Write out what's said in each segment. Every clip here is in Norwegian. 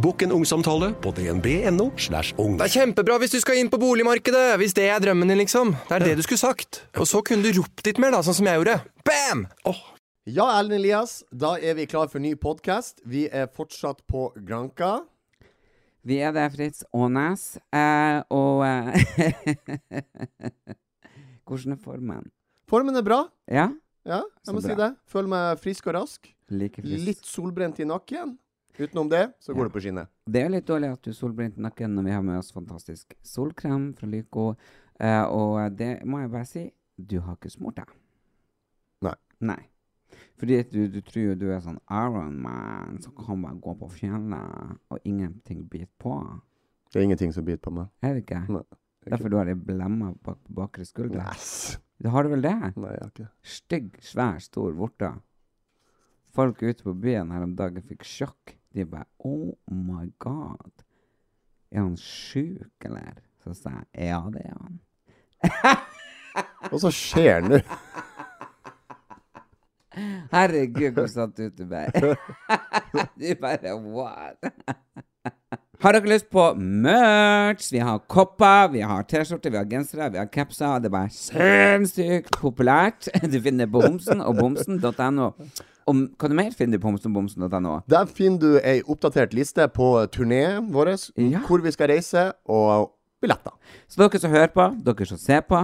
Bokk en ungsamtale på dnb.no. slash ung. Det er kjempebra hvis du skal inn på boligmarkedet, hvis det er drømmen din, liksom. Det er det du skulle sagt. Og så kunne du ropt litt mer, da, sånn som jeg gjorde. Bam! Ja, Erlend Elias, da er vi klar for ny podkast. Vi er fortsatt på Granka. Vi er der, Fritz Aanes. Eh, og eh, Hvordan er formen? Formen er bra. Ja? Ja, jeg må Så si bra. det. Føler meg frisk og rask. Like frisk. Litt solbrent i nakken. Utenom det, så går det på skinnet. Det er litt dårlig at du er solbrent i nakken når vi har med oss fantastisk solkrem fra Lyco. Eh, og det må jeg bare si, du har ikke smurt deg. Nei. Nei. Fordi at du, du tror jo du er sånn Ironman som kan bare gå på fjellet, og ingenting biter på. Det er ingenting som biter på meg. Er det ikke? Nei, det er Derfor du har ei blemme bak på bakre skulder. Yes. Du Har du vel det? Nei, jeg har ikke det. Stygg, svær, stor vorte. Folk ute på byen her om dagen fikk sjokk. De bare Oh my god. Er han sjuk, eller? Så sa jeg ja, det er han. Og så skjer det nå. Herregud, hvor satt ut du bare. du bare what? Har dere lyst på merch? Vi har kopper, vi har T-skjorter, vi har gensere, vi har capser. Det er bare sinnssykt populært. Du finner det på homsen og bomsen.no. Om, hva du mer finner du på homsen og bomsen.no? Der finner du ei oppdatert liste på turneen vår, Ja. hvor vi skal reise, og billetter. Så dere som hører på, dere som ser på,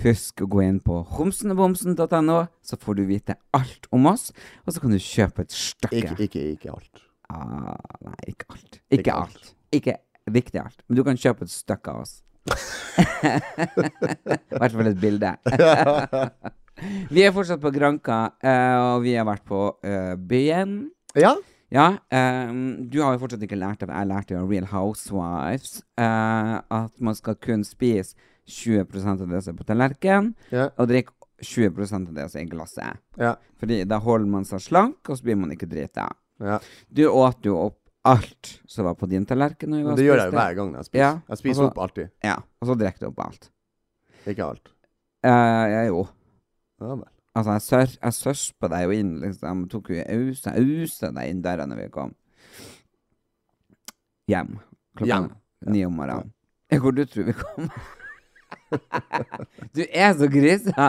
husk å gå inn på homsenogbomsen.no, så får du vite alt om oss, og så kan du kjøpe et stykke. Ikke, ikke, ikke alt. Ah, nei, ikke alt. Ikke, Ikke alt. alt. Ikke riktig alt. Men du kan kjøpe et stykke av oss. I hvert fall et bilde. vi er fortsatt på Granka, eh, og vi har vært på eh, byen. Ja, Ja, ehm, du har jo fortsatt ikke lært av Jeg lærte jo av Real Housewives eh, at man skal kun spise 20 av det som er på tallerkenen, Ja. og drikke 20 av det som er i glasset. ja, Fordi da holder man seg slank, og så blir man ikke drita. ja. Du åt jo opp alt som var på din tallerken. når vi var og Det gjør jeg jo spiste. hver gang jeg spiser. Ja, Jeg spiser altså- opp alltid. Ja, og så drikker du opp alt. Ikke alt. Eh, jeg jo. Ja vel. Altså, jeg, sør, jeg sørspa deg jo inn, liksom. Tok jo ausa, ausa deg inn døra når vi kom. Hjem. Klokka Hjem. ni om morgenen. Hvor du tror vi kom. du er så grisete!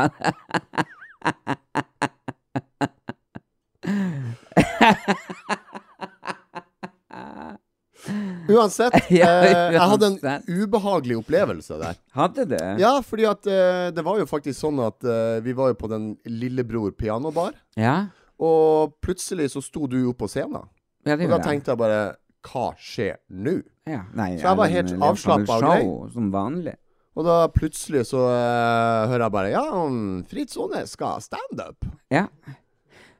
Uansett, Ja, eh, jeg hadde en uansett. ubehagelig opplevelse der. Hadde du? Ja, fordi at eh, det var jo faktisk sånn at eh, vi var jo på den lillebror pianobar, Ja? og plutselig så sto du opp på scenen. Ja, Og da det gjorde jeg. tenkte jeg bare Hva skjer nå? Ja. Nei, Så jeg var Erlend helt Elias hadde avslappet og show, Som vanlig. Og da plutselig så eh, hører jeg bare Ja, han Fritz Aanes skal ha standup. Ja.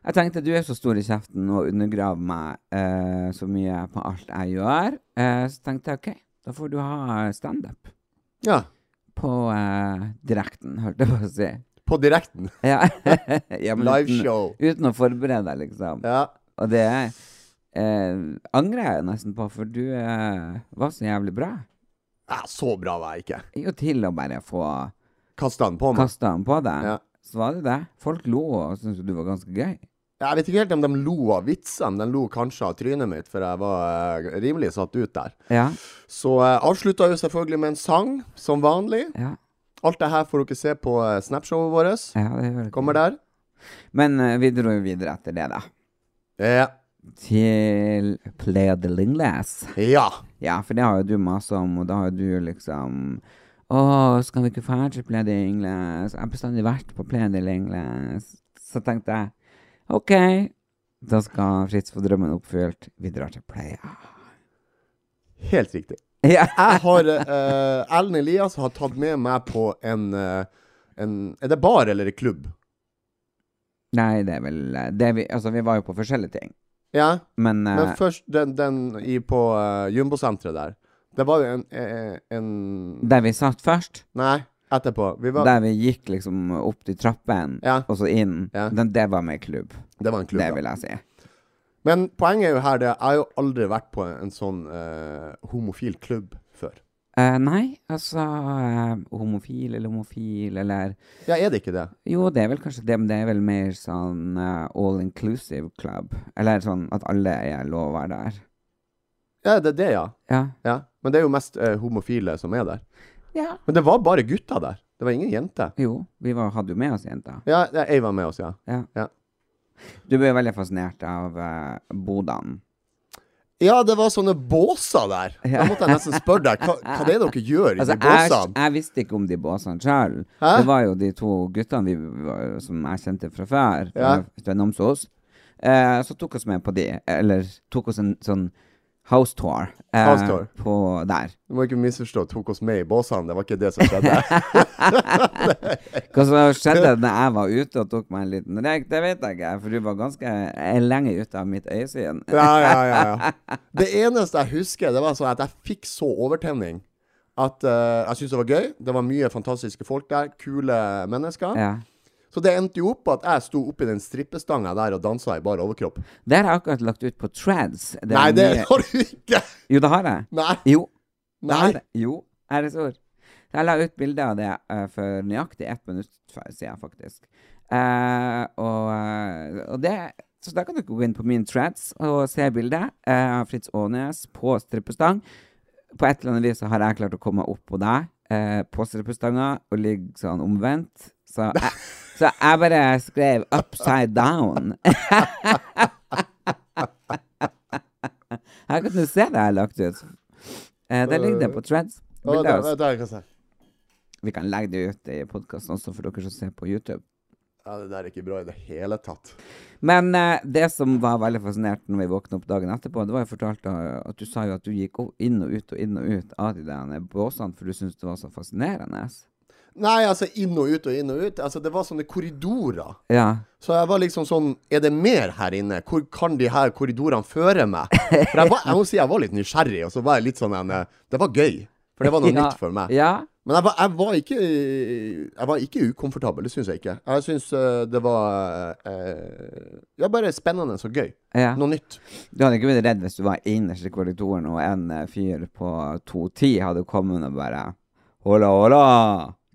Jeg tenkte du er så stor i kjeften og undergraver meg eh, så mye på alt jeg gjør. Eh, så tenkte jeg OK, da får du ha standup Ja. på eh, direkten, holdt jeg på å si. På direkten. Ja. Ja, men Liveshow. Uten, uten å forberede deg, liksom. Ja. Og det eh, angrer jeg jo nesten på, for du eh, var så jævlig bra. ja. Så bra var jeg ikke. Jo, til å bare få Kasta han på meg. kasta den på deg. Ja. Så var det det. Folk lo og syntes jo du var ganske gøy. Jeg vet ikke helt om de lo av vitsene. De lo kanskje av trynet mitt, for jeg var eh, rimelig satt ut der. Ja. Så eh, avslutta jo selvfølgelig med en sang, som vanlig. Ja, Alt det her får dere se på eh, Snapshowet vårt. ja det gjør det. Kommer der. Men eh, vi dro jo videre etter det, da. Eh, Til Playa de Lingles. ja. Ja, for det har jo du masa om, og da har jo du liksom Å, skal vi ikke dra til Playa de Lingles? Jeg har bestandig vært på Playa de Lingles. Så tenkte jeg Ok, da skal Fritz få drømmen oppfylt. Vi drar til Playa. Helt riktig. Ja. Jeg har eh, Ellen Elias har tatt med meg på en, eh, en Er det bar eller klubb? Nei, det er vel eh, det er vi, Altså, vi var jo på forskjellige ting, Ja? men, eh, Men først den, den i, på uh, Jumbo-senteret der. Det var jo en, eh, en der vi satt først, Nei, etterpå. Vi var, der vi gikk liksom opp til trappen Ja. og så inn, Ja. den, det var med klubb. det var en klubb. det da. vil jeg si. Men poenget er jo her det Jeg har jo aldri vært på en sånn eh, homofil klubb før. Eh, nei, altså eh, Homofil eller homofil eller Ja, er det ikke det? Jo, det er vel kanskje det, men det er vel mer sånn eh, all inclusive club. Eller sånn at alle er lov å være der. Ja, det er det, ja. Ja. ja. Men det er jo mest eh, homofile som er der. ja. Men det var bare gutter der. Det var ingen jenter. Jo, vi var, hadde jo med oss jenta. Ja, ja, jeg var med oss, ja. Ja. Ja. Du ble veldig fascinert av eh, bodene. Ja, det var sånne båser der. Da måtte jeg nesten spørre deg, hva, hva det er dere gjør i Altså, de jeg, båsene? jeg visste ikke om de båsene sjøl. Hæ? Det var jo de to guttene vi, var- som jeg kjente fra før, fra, Ja. fra Namsos. Eh, så tok oss med på de, eller tok oss en sånn house tour, eh, House tour. på der. Du må ikke misforstå, tok oss med i båsene. Det var ikke det som skjedde. Hva som skjedde da jeg var ute og tok meg en liten røyk, det vet jeg ikke, for du var ganske eh, lenge ute av mitt øyesyn. ja, ja, ja, ja. Det eneste jeg husker, det var sånn at jeg fikk så overtenning. At eh, jeg syntes det var gøy. Det var mye fantastiske folk der. Kule mennesker. Ja. Så det endte jo opp på at jeg sto oppi den strippestanga der og dansa i bar overkropp. Det har jeg akkurat lagt ut på Trads. Det er Nei, det nye- har du ikke! Jo, det har jeg. Nei. Jo. det Nei. har jeg. Jo, ærens ord. Jeg la ut bilde av det eh, for nøyaktig ett minutt f- siden, faktisk. Eh, og, eh, og det Så da kan du gå inn på min trads og se bildet eh, av Fritz Aanes på strippestang. På et eller annet vis så har jeg klart å komme opp på deg eh, på strippestanga og ligge sånn omvendt. Så jeg, så jeg bare skrev 'upside down'. Her kan du se det jeg har lagt ut. Eh, der ligger det på Threads. Å, da, Bildet altså- av oss. da, da, hva sa jeg? Vi kan legge det ut i podkasten også, for dere som ser på YouTube. ja, det der er ikke bra i det hele tatt. Men eh, det som var veldig fascinert når vi våkna opp dagen etterpå, det var jo fortalt eh, at du sa jo at du gikk o- inn og ut og inn og ut av de der båsene, for du syntes det var så fascinerende. Nei, altså inn og ut og inn og ut. Altså, det var sånne korridorer. Ja. Så jeg var liksom sånn Er det mer her inne? Hvor kan de her korridorene føre meg? For jeg, var, jeg må si jeg var litt nysgjerrig, og så var jeg litt sånn en, eh, Det var gøy. For det var noe ja. nytt for meg. Ja. Men jeg var, jeg var ikke Jeg var ikke ukomfortabel, det syns jeg ikke. Jeg syns eh, det var eh, Ja, bare spennende og gøy. Ja. Noe nytt. Du hadde ikke blitt redd hvis du var innerst i korridoren, og en eh, fyr på 2.10 hadde kommet og bare Hola, hola!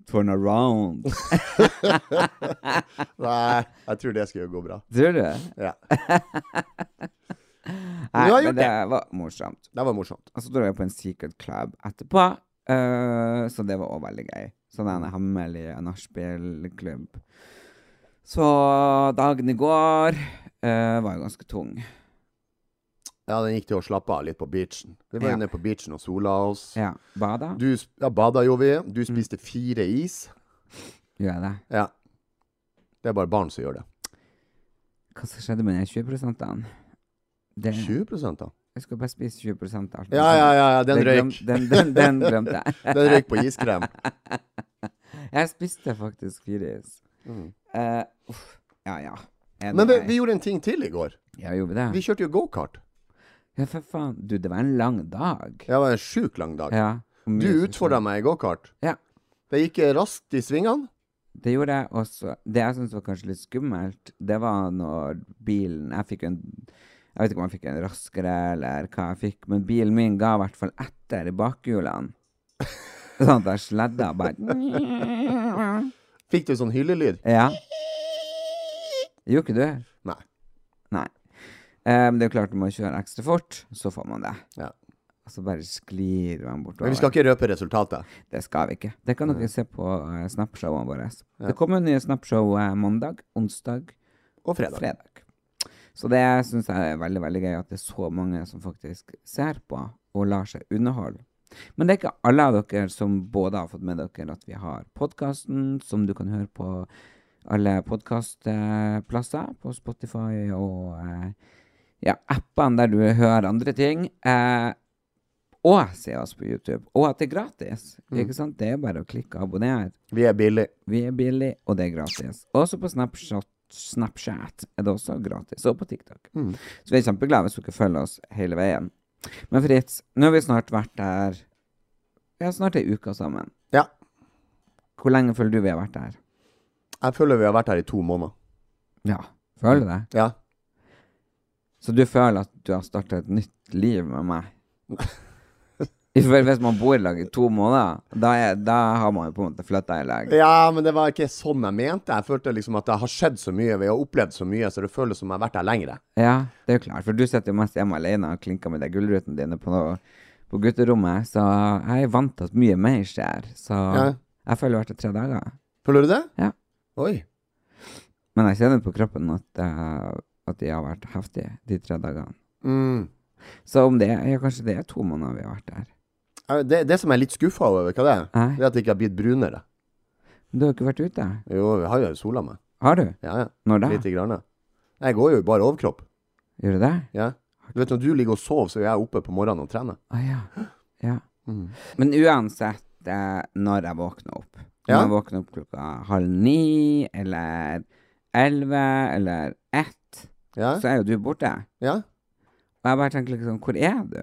Turn around! Nei, jeg tror det skulle gå bra. Tror du? Ja. Nei, har men gjort det var morsomt. Det var morsomt. Og så dro jeg på en secret club etterpå, eh, så det var òg veldig gøy. Sånn en hemmelig nachspiel-klubb. Så dagen i går eh, var jo ganske tung. Ja, den gikk til å slappe av litt på beachen. Vi var Ja. jo nede på beachen og sola oss. Ja. Mm. Bada? Du sp- ja, bada jo vi. Du spiste fire is. Gjør jeg det? Ja. Det er bare barn som gjør det. Hva som skjedde med den 20 Det, 20 da. jeg skulle bare spise 20 alt. Ja, ja, ja, ja den Det glem- røyk. Den, den, den glemte jeg. Den røyk på iskrem. Jeg spiste faktisk fire is. Eh, uff. ja, ja. Er det Mm. Men vi, meg? vi gjorde en ting til i går. Ja, gjorde vi det? Vi kjørte jo gokart. Ja, for faen. Du, det var en lang dag. Det var en sjukt lang dag. Ja. Du utfordra meg i gokart. Ja. Det gikk eh, raskt i svingene. Det gjorde jeg også. Det jeg syntes var kanskje litt skummelt, det var når bilen Jeg fikk en Jeg vet ikke om jeg fikk en raskere, eller hva jeg fikk, men bilen min ga i hvert fall etter i bakhjulene. Sånn at jeg sledda bare Fikk du sånn hyllelyd? Ja. Gjorde ikke du? Nei. Nei. Eh, Men det er jo klart, når man kjører ekstra fort, så får man det. Ja. Og så bare sklir man bortover. Men vi skal ikke røpe resultatet. Det skal vi ikke. Det kan dere se på eh, Snapshowene våre. Det kommer nye Snapshow eh, mandag, onsdag, Og fredag. fredag. Så det syns jeg er veldig veldig gøy at det er så mange som faktisk ser på og lar seg underholde. Men det er ikke alle av dere som både har fått med dere at vi har podkasten, som du kan høre på alle podkastplasser på Spotify og eh, ja, appene der du hører andre ting. Eh, og se oss på YouTube. Og at det er gratis. Ikke sant? Det er bare å klikke og abonnere. Vi er billig. Vi er billig, og det er gratis. Også på Snapchat, Snapchat er det også gratis, og på TikTok. Så vi er kjempeglade hvis dere følger oss hele veien. Men Fritz, nå har vi snart vært der Vi har snart ei uke sammen. Ja. Hvor lenge føler du vi har vært der? Jeg føler vi har vært her i to måneder. Ja. Føler du det? Ja. Så du føler at du har starta et nytt liv med meg? For Hvis man bor i lag i to måneder, da, er, da har man jo på en måte flytta i lag. Ja, men det var ikke sånn jeg mente. Jeg følte liksom at det har skjedd så mye, vi har opplevd så mye, så det føles som jeg har vært her lengre. Ja, det er jo klart, for du sitter jo mest hjemme alene og klinker med de gullrutene dine på, noe, på gutterommet, så jeg er vant til at mye mer skjer. Så Ja. jeg føler hvert til tre dager. Føler du det? Ja. Oi. Men jeg kjenner på kroppen at, eh, at de har vært heftige, de tre dagene. Mm. Så om det ja, kanskje det er to måneder vi har vært der. Eh, Det, det som jeg er litt skuffa over, hva det er, Nei. det er at jeg ikke har blitt brunere. Men du har jo ikke vært ute. Jo, vi har jo sola meg. Har du? Ja, ja. Når da? Lite grann. Jeg går jo i bare overkropp. Gjør du det? Ja. Du vet, når du ligger og sover, så er jeg oppe på morgenen og trener. Å ja. ja. Mm. Men uansett eh, når jeg våkner opp Om Ja. jeg våkner opp klokka halv ni eller elleve eller ett, Ja? så er jo du borte. ja? Og jeg bare tenker liksom, hvor er du?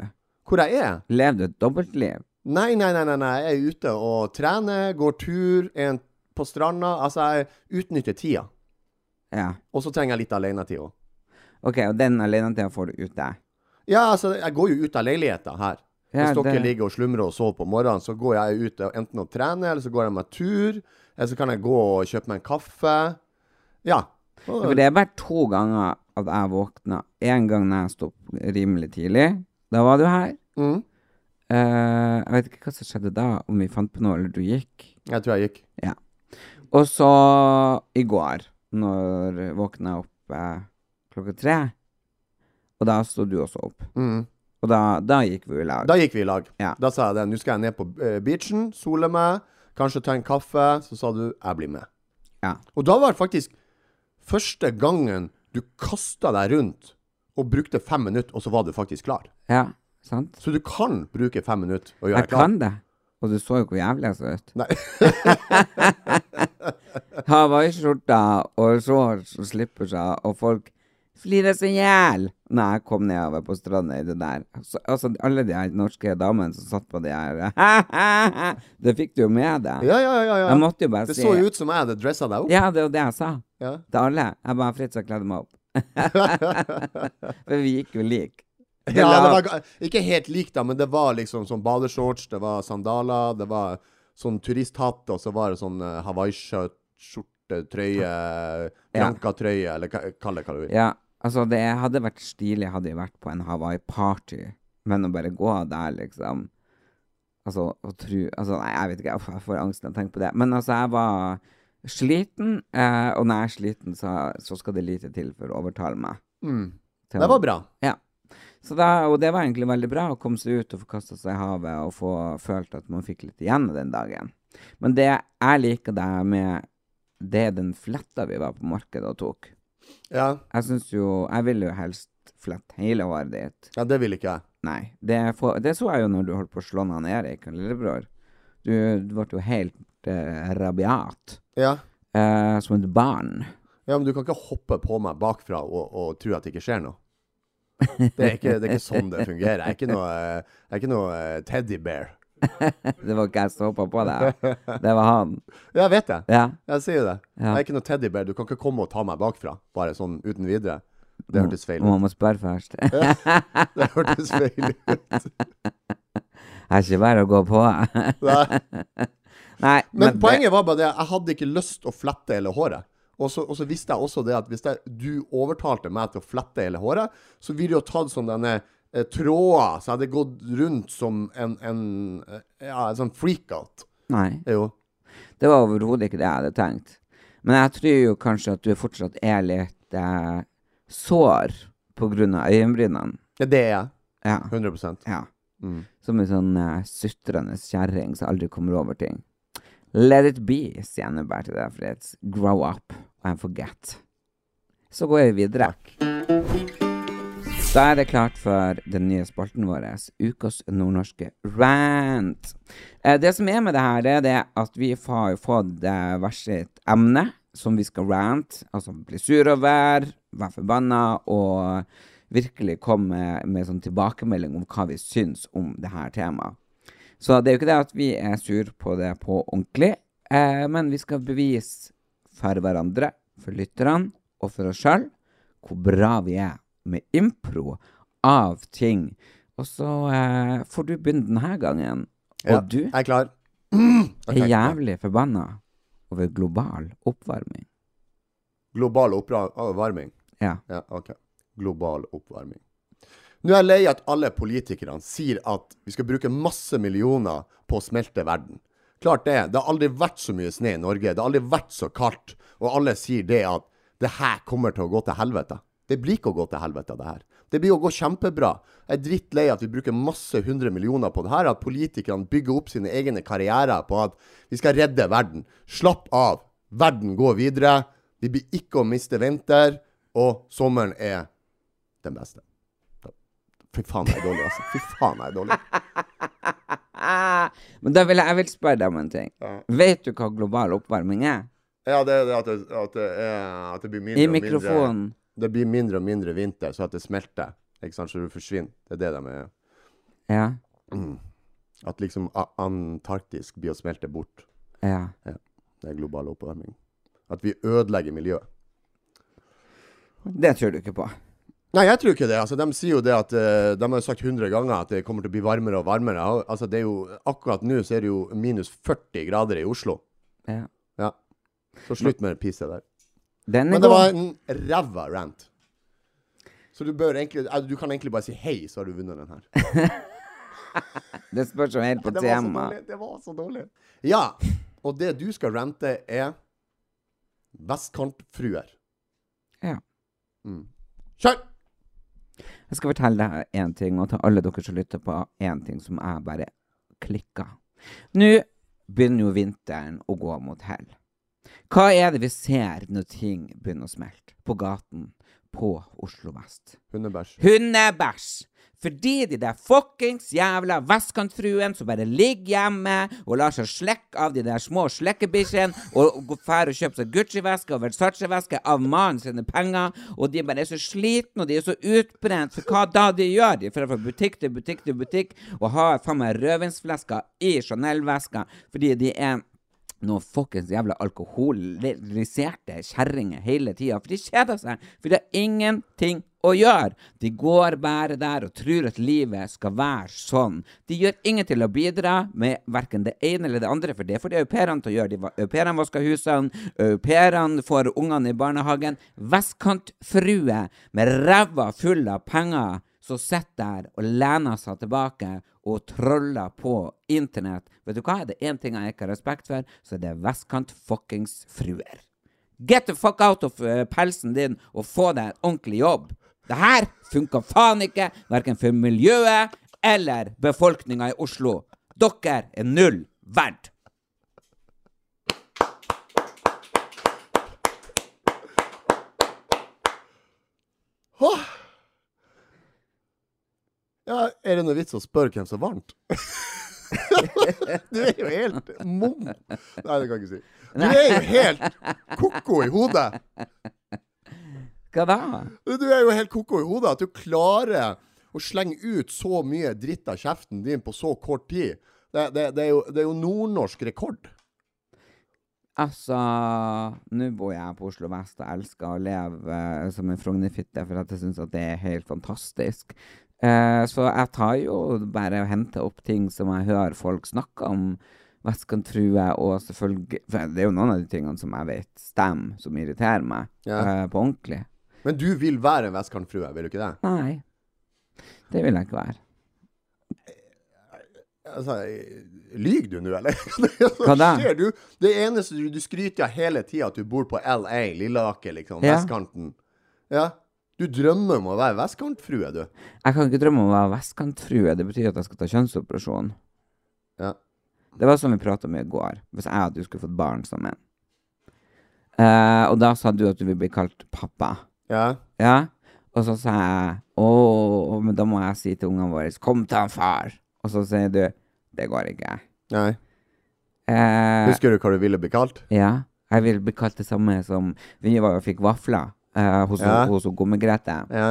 Hvor jeg er? Lever du et dobbeltliv? Nei, nei, nei, nei, nei. Jeg er ute og trener, går tur, er en- på stranda. Altså, jeg utnytter tida. Ja. Og så trenger jeg litt alenetid òg. Ok, og den alenetida får du ute. Ja, altså, jeg går jo ut av leiligheta her. Ja, Hvis dere det- ligger og slumrer og sover på morgenen, så går jeg ut og enten og trener, eller så går jeg meg tur, eller så kan jeg gå og kjøpe meg en kaffe. Ja. Ja, For det er bare to ganger at jeg våkna. En gang når jeg sto opp rimelig tidlig. Da var du her. Mm. Eh, jeg vet ikke hva som skjedde da, om vi fant på noe, eller du gikk. Jeg tror jeg gikk. Ja. Og så i går, når jeg våkna opp eh, klokka tre, og da sto du også opp. Mm. Og da, da gikk vi i lag. Da gikk vi i lag. Ja. Da sa jeg det. Nå skal jeg ned på eh, beachen, sole meg, kanskje ta en kaffe. Så sa du 'jeg blir med'. Ja. Og da var det faktisk første gangen du kasta deg rundt og brukte fem minutter, og så var du faktisk klar. ja, sant? Så du kan bruke fem minutter og gjøre Jeg deg klar. kan det. Og du så jo hvor jævlig jeg så ut. Nei. Hawaiiskjorta og shorts og slipperser, og folk flirer seg i hjel når jeg kom nedover på stranda i det der. Så, altså, alle de her norske damene som satt på de her Det fikk du jo med deg. Ja, ja, ja. ja. Jeg måtte jo bare det si så jo ut som jeg hadde dressa deg opp. Ja, det var det jeg sa Ja. til alle. Jeg bare Fritz har kledd meg opp. For vi gikk jo lik. Ja, det var ga- ikke helt likt, da, men det var liksom sånn badeshorts, det var sandaler, det var sånn turisthatt, og så var det sånn uh, hawaiiskjorte, trøye, Granca-trøye, eller hva kall det hva du vil. Ja, altså det hadde vært stilig hadde vi vært på en Hawaii-party, men å bare gå der, liksom Altså, å tru Altså, nei, jeg vet ikke, uff, jeg får angst når jeg tenker på det. Men altså, jeg var sliten, eh, og når jeg er sliten, så, så skal det lite til for å overtale meg. til å- Mm. Det var bra. Ja. Så da, og det var egentlig veldig bra å komme seg ut og få kasta seg i havet og få følt at man fikk litt igjen den dagen. Men det jeg liker det med, det er den fletta vi var på markedet og tok. Ja, Jeg syns jo Jeg vil jo helst flette hele håret ditt. ja det vil ikke jeg. Nei. Det, får- det så jeg jo når du holdt på å slå han Erik, han lillebror. Du, du ble jo helt eh, rabiat. Ja. Eh, som et barn. ja, men du kan ikke hoppe på meg bakfra og, og tro at det ikke skjer noe. Det er ikke, det er ikke sånn det fungerer. Jeg er ikke noe, eh, jeg er ikke noe eh, teddybear. Det var ikke jeg som hoppa på deg. Det var han. Jeg vet det. Ja. Jeg sier jo det. Ja. Jeg er ikke noe teddybear. Du kan ikke komme og ta meg bakfra, bare sånn uten videre. Det hørtes feil Man ut. må spørre først. Det hørtes feil ut. Det er ikke bare å gå på. Nei. Nei, Men det- poenget var bare det, jeg hadde ikke lyst å flette hele håret. Og så, og så visste jeg også det at hvis jeg, du overtalte meg til å flette hele håret, så ville du jo tatt sånn denne eh, tråder, så jeg hadde gått rundt som en, en eh, ja, en sånn freakout. Nei, Jo. det var overhodet ikke det jeg hadde tenkt. Men jeg tror jo kanskje at du fortsatt er litt eh, sår på grunn av øyenbrynene. Ja, det er jeg. Ja. 100 Ja. Mm. Som en sånn uh, sutrende kjerring som aldri kommer over ting. Let it be, sier jeg nå bare til deg, Fritz. Grow up. and forget. Så går vi videre. Da er det klart for den nye spalten vår, Ukas nordnorske rant. Eh, Det som er med det her, det er det at vi har jo fått eh, hvert sitt emne som vi skal rant, altså bli sur over, være forbanna og virkelig komme med, med sånn tilbakemelding om hva vi syns om det her temaet. Så det er jo ikke det at vi er sur på det på ordentlig, eh, men vi skal bevise for hverandre, for lytterne og for oss sjøl hvor bra vi er med impro av ting. Og så eh, får du begynne denne gangen. Og Ja, du Jeg er klar. er jævlig forbanna over global oppvarming. Global oppvarming. Ja. Ja, ok. Global oppvarming. Nå er jeg lei at alle politikerne sier at vi skal bruke masse millioner på å smelte verden. Klart det. Det har aldri vært så mye snø i Norge. Det har aldri vært så kaldt. Og alle sier det at det her kommer til å gå til helvete. Det blir ikke å gå til helvete, det her. Det blir å gå kjempebra. Jeg er drittlei at vi bruker masse hundre millioner på det her. At politikerne bygger opp sine egne karrierer på at vi skal redde verden. Slapp av. Verden går videre. Vi blir ikke å miste vinter. Og sommeren er den beste. Fy faen, jeg er dårlig, altså. Fy faen, jeg er dårlig. Men da vil jeg, jeg vil spørre deg om en ting. Vet du hva global oppvarming er? Ja, det er det at det, at det, er, at det blir mindre I og mikrofonen. mindre Det blir mindre og mindre vinter, så at det smelter. Ikke sant, så du forsvinner. Det er det de er. Ja. Mm. At liksom A- Antarktis blir å smelte bort. Ja. Det er global oppvarming. At vi ødelegger miljøet. Det tror du ikke på. Nei, jeg tror ikke det. Altså, de sier jo det at eh, De har jo sagt 100 ganger at det kommer til å bli varmere og varmere. Og, Altså, det er jo, akkurat nå så er det jo minus 40 grader i Oslo. Ja. Ja. Så slutt med det pisset der. Den er Men det var god. en ræva rant. Så du bør egentlig eh, Du kan egentlig bare si hei, så har du vunnet den her. Det spørs jo helt på Det var så tema. dårlig. Det var så dårlig. Ja. Og det du skal rante, er vestkantfruer. Ja. Kjør! Jeg skal fortelle deg én ting, og til alle dere som lytter på, én ting som jeg bare klikka. Nå begynner jo vinteren å gå mot hell. Hva er det vi ser når ting begynner å smelte? På gaten, på Oslo vest. Hundebæsj. Hundebæsj! Fordi de der fuckings jævla vestkantfruen som bare ligger hjemme og lar seg slekke av de der små slekkebikkjene og og drar og kjøper seg Gucci-veske og Versace-veske av mannen sine penger, og de bare er så slitne og de er så utbrent, for hva da de gjør? De drar fra butikk til butikk til butikk og har faen meg rødvinsflesker i Chanel-veska fordi de er noen fuckings jævla alkoholiserte kjerringer hele tida. For de kjeder seg. For de har ingenting å gjøre. De går bare der og tror at livet skal være sånn. De gjør ingen til å bidra med verken det ene eller det andre, for det får de au pairene til å gjøre. De va- Au pairene vasker husene, au pairene får ungene i barnehagen. Vestkantfrue med ræva full av penger som sitter der og lener seg tilbake og troller på internett. Vet du hva? Er det én ting jeg ikke har respekt for, så er det vestkant-fuckings-fruer. Get the fuck out of eh, pelsen din og få deg en ordentlig jobb. Det her funka faen ikke, verken for miljøet eller befolkninga i Oslo. Dere er null verdt. Åh! Ja, er det noe vits å spørre hvem som vant? du er jo helt mum. Nei, det kan jeg ikke si. Du er jo helt ko-ko i hodet. Hva da? Du er jo helt ko-ko i hodet at du klarer å slenge ut så mye dritt av kjeften din på så kort tid. Det, det, det er jo, det er jo nordnorsk rekord. Altså, nå bor jeg på Oslo vest og elsker å leve eh, som en frognerfitte, for at jeg syns at det er helt fantastisk. Eh, så jeg tar jo bare og henter opp ting som jeg hører folk snakke om. Vestkantfrue og selvfølgelig for Det er jo noen av de tingene som jeg vet stemmer, som irriterer meg Ja. eh, på ordentlig. Men du vil være en vestkantfrue, vil du ikke det? Nei. Det vil jeg ikke være. Altså, Lyver du nå, eller? Hva da? skjer? Du, det eneste du, du skryter av hele tida, at du bor på LA, Lilleaker, liksom. Ja. Vestkanten. Ja. Du drømmer om å være vestkantfrue, du. Jeg kan ikke drømme om å være vestkantfrue. Det betyr at jeg skal ta kjønnsoperasjon. Ja. sånn Det var som vi prata om i går, hvis jeg og du skulle fått barn sammen. Eh, og da sa du at du vil bli kalt pappa. Ja. Ja? Og så sa jeg å, men da må jeg si til ungene våre 'kom til han far'. Og så sier du 'det går ikke'. Nei. Eh, Husker du hva du ville bli kalt? ja. Jeg vil bli kalt det samme som Vi var og fikk vafler eh, hos, Ja. hos Gomme-Grete. Ja.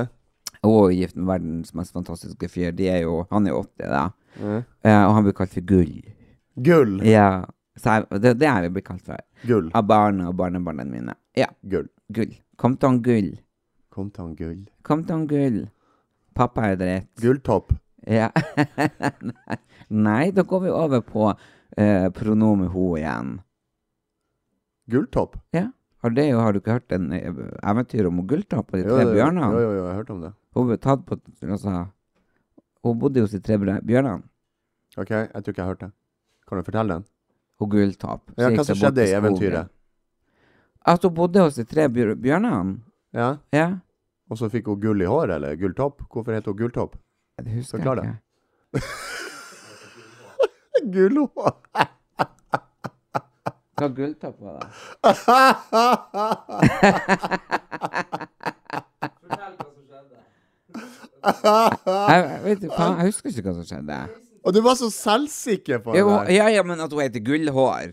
Hun er jo gift med verdens mest fantastiske fyr. De er jo, han er jo 80, da. Eh, og han blir kalt for Gull. Gull. Ja. Så jeg, det, det er jeg blir kalt for. Gull. Av barna og barnebarna mine. Ja. Gull. Gull. Kom til han Gull. Kom til han Gull. Kom til han Gull. Pappa er dritt. Gulltopp. Ja. Nei, da går vi over på eh, pronomen ho igjen. Gulltopp? Ja. Har, det, har du ikke hørt en eh, eventyr om Gulltopp og de Jo, tre jo, bjørnene? Jo, jo, jo, jeg har hørt om det. Hun ble tatt på altså, Hun bodde hos de tre bjør- bjørnene. Ok, jeg tror ikke jeg har hørt det. Kan du fortelle den? Hun Gulltopp. Ja, Så gikk hva det som bort skjedde i skogen. eventyret? At hun bodde hos de tre bjør bjørnene? Ja. Ja. Og så fikk hun gull i håret, eller gulltopp? Hvorfor heter hun gulltopp? Det husker Forklar jeg det. ikke. Gullhår! Hva Gulltopp var, da? Ah. Jeg, jeg vet ikke faen, jeg husker ikke hva som skjedde. Og du var så selvsikker på det Jo, der. ja, ja, men at hun heter Gullhår.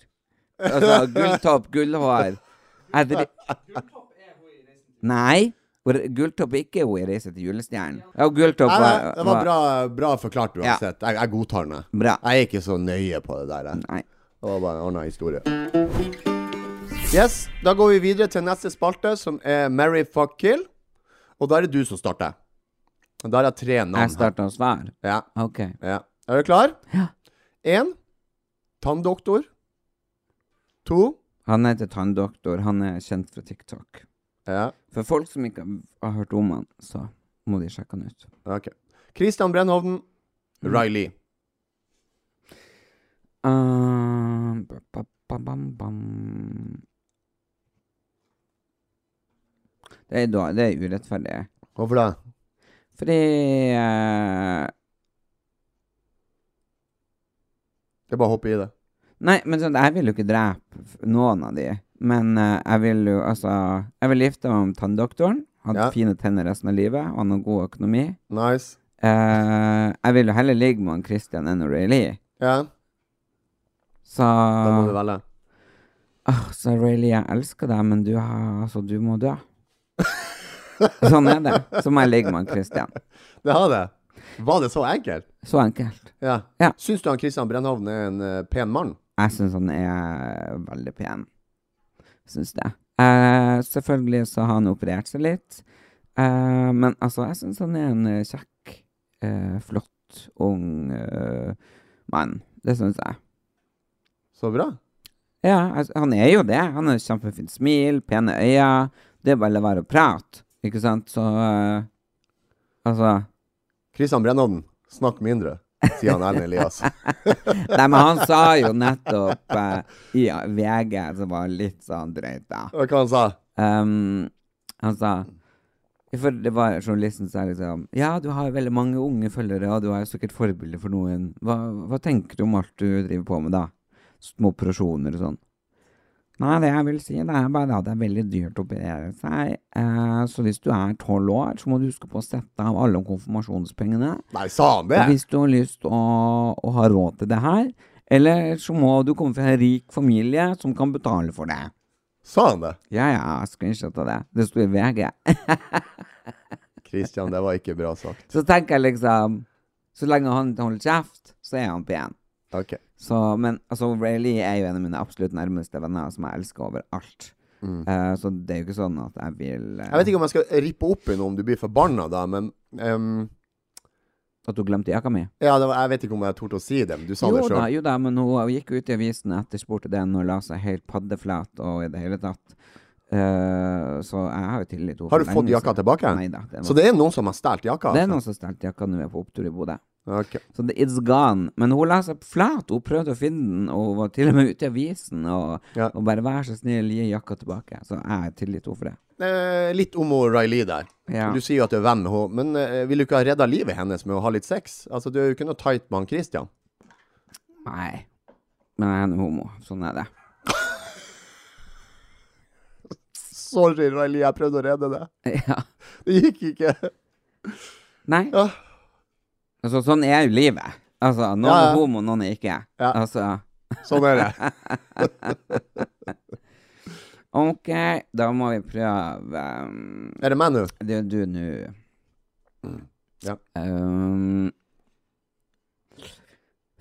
Altså Gulltopp, Gullhår. Jeg dri... Nei. hun- Gulltopp er ikke hun i 'Reise til julestjernen'. Ja, Gulltopp Nei, var, nei, det var bra, bra forklart uansett. Jeg, jeg godtar den. jeg. Bra. Jeg er ikke så nøye på det der. jeg. Nei. Det var bare en annen historie. Yes, da går vi videre til neste spalte, som er Mary fuck kill. Og da er det du som starter. Og Da har jeg tre navn. her. Jeg starta å svare. Ja, OK. ja. Er du klar? Ja. Én tanndoktor. To Han heter Tanndoktor. Han er kjent fra TikTok. Ja, For folk som ikke har hørt om han, så må de sjekke han ut. ok. Christian Brennhovden. Mm. Riley. Um, ba, ba, ba, bam, bam. Det er, da, det er urettferdig. Hvorfor det? Fordi eh, Det er bare å hoppe i det. Nei, men sånn, jeg vil jo ikke drepe f- noen av de. Men eh, jeg vil jo altså Jeg vil gifte meg med tanndoktoren. Han Ja. har fine tenner resten av livet. og Han har god økonomi. Nice. Eh, jeg vil jo heller ligge med han Christian enn Rayleigh. Ja, Så da Ah. må du velge. Åh, Så Rayleigh, jeg elsker deg, men du, har, altså, du må dø. sånn er det. Så må jeg ligge med han Christian. Det har det. Var det så enkelt? Så enkelt. Ja. Ja. Syns du han Christian Brennhovden er en eh, pen mann? Jeg syns han er veldig pen. Syns det. Eh, selvfølgelig så har han operert seg litt. Eh, men altså, jeg syns han er en eh, kjekk, eh, flott, ung eh, mann. Det syns jeg. Så bra. Ja, altså, han er jo det. Han har et kjempefint smil, pene øyne. Det er bare å la være å prate, ikke sant? Så eh, Altså Kristian Brennhovden, snakk mindre, sier han Erlend Elias. Nei, men han sa jo nettopp eh, i VG, som var litt sånn drøyt, da. Og hva han sa? Ehm, han sa for det var Journalisten sa liksom Ja, du har jo veldig mange unge følgere, og du er jo sikkert forbilde for noen. Hva, hva tenker du om alt du driver på med, da? Små operasjoner og sånn. Nei, det jeg vil si, det er bare at det er veldig dyrt å operere seg. Eh, så hvis du er tolv år, så må du huske på å sette av alle konfirmasjonspengene. Nei, sa han det? Og hvis du har lyst å, å ha råd til det her, eller så må du komme fra en rik familie som kan betale for det. Sa han det? Ja, ja, jeg screenshot av det. Det sto i VG. Kristian, det var ikke bra sagt. Så tenker jeg liksom Så lenge han holder kjeft, så er han pen. Ok. Så, men altså, Rayleigh er jo en av mine absolutt nærmeste venner, som jeg elsker overalt. Eh, så det er jo ikke sånn at jeg Mm. vil eh, Jeg vet ikke om jeg skal rippe opp i noe om du blir forbanna da, men ehm, At hun glemte jakka mi. Ja, det var, jeg vet ikke om jeg torde å si det, men du sa Jo det da, sjøl. jo da, men hun, hun gikk jo ut i avisen etterspurte den og la seg helt paddeflat og i det hele tatt. Eh, så jeg har jo tillit til Har du fått jakka tilbake? Nei da. Det, Så det er noen som har stjålet jakka? det er altså? noen som stjal jakka når vi er på opptur i Bodø. Ok. Så det, it's gone. Men hun la seg flat. Hun prøvde å finne den, og hun var til og med ute i avisen. Og, Ja. og bare 'vær så snill, gi jakka tilbake'. Så jeg har tillit til henne for det. Eh, litt om hun Riley der. Ja. Du sier jo at du er venn med henne, men eh, vil du ikke ha redda livet hennes med å ha litt sex? Altså, Du er jo ikke noe tight med han Christian. Nei. Men jeg er en homo. Sånn er det. Sorry, Riley, jeg prøvde å redde det. Ja. Det gikk ikke. Nei. Ja. Altså, sånn er jo livet. Altså, noen Ja, ja. er homo, noen er ikke. Ja. Altså, Sånn er det. OK, da må vi prøve um, Er det meg nå? Det er du nå. Ja. Um,